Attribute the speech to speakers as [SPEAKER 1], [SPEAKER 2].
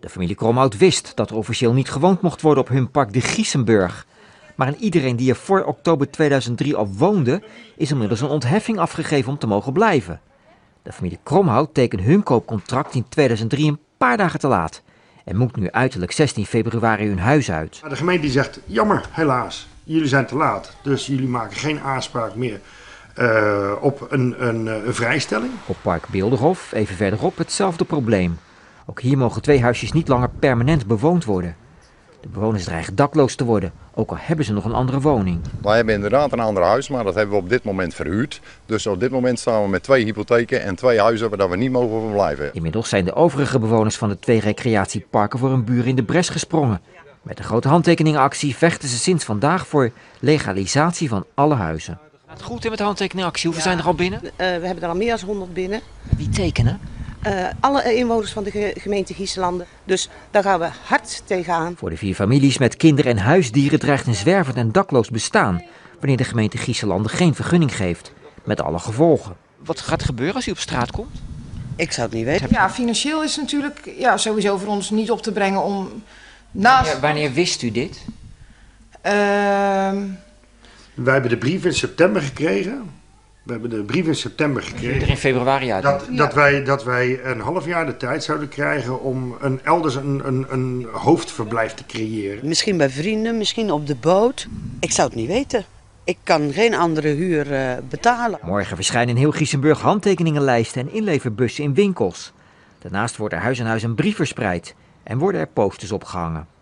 [SPEAKER 1] De familie Kromhout wist dat er officieel niet gewoond mocht worden op hun park de Giesenburg. Maar aan iedereen die er voor oktober 2003 al woonde, is inmiddels een ontheffing afgegeven om te mogen blijven. De familie Kromhout tekent hun koopcontract in 2003 een paar dagen te laat. En moet nu uiterlijk 16 februari hun huis uit.
[SPEAKER 2] Maar de gemeente die zegt, jammer, helaas, jullie zijn te laat. Dus jullie maken geen aanspraak meer eh, op een, een, eh, een vrijstelling.
[SPEAKER 1] Op Park Beelderhof, even verderop, hetzelfde probleem. Ook hier mogen twee huisjes niet langer permanent bewoond worden. De bewoners dreigen dakloos te worden, ook al hebben ze nog een andere woning.
[SPEAKER 3] Wij hebben inderdaad een ander huis, maar dat hebben we op dit moment verhuurd. Dus op dit moment staan we met twee hypotheken en twee huizen waar we niet mogen verblijven.
[SPEAKER 1] Inmiddels zijn de overige bewoners van de twee recreatieparken voor een buur in de bres gesprongen. Met een grote handtekeningenactie vechten ze sinds vandaag voor legalisatie van alle huizen. Gaat goed hè, met de handtekeningenactie? Hoeveel zijn er al binnen?
[SPEAKER 4] Eh, we hebben er al meer dan 100 binnen.
[SPEAKER 1] Wie tekenen?
[SPEAKER 4] Eh, alle inwoners van de ge- gemeente Gieselanden. Dus daar gaan we hard tegenaan.
[SPEAKER 1] Voor de vier families met kinderen en huisdieren dreigt een zwervend en dakloos bestaan wanneer de gemeente Gieselanden geen vergunning geeft, met alle gevolgen. Wat gaat er gebeuren als u op straat komt?
[SPEAKER 4] Ik zou het niet weten.
[SPEAKER 5] Ja, financieel is natuurlijk ja, sowieso voor ons niet op te brengen om naast.
[SPEAKER 1] wanneer wist u dit?
[SPEAKER 5] Ehm,
[SPEAKER 2] Wij hebben de brief in september gekregen. We hebben de brief in september gekregen.
[SPEAKER 1] in februari uit.
[SPEAKER 2] Dat, dat, wij, dat wij een half jaar de tijd zouden krijgen om een, elders een, een, een hoofdverblijf te creëren.
[SPEAKER 4] Misschien bij vrienden, misschien op de boot. Ik zou het niet weten. Ik kan geen andere huur eh, betalen.
[SPEAKER 1] Morgen verschijnen in heel Giesenburg handtekeningenlijsten en inleverbussen in winkels. Daarnaast wordt er huis aan huis een brief verspreid en worden er posters opgehangen.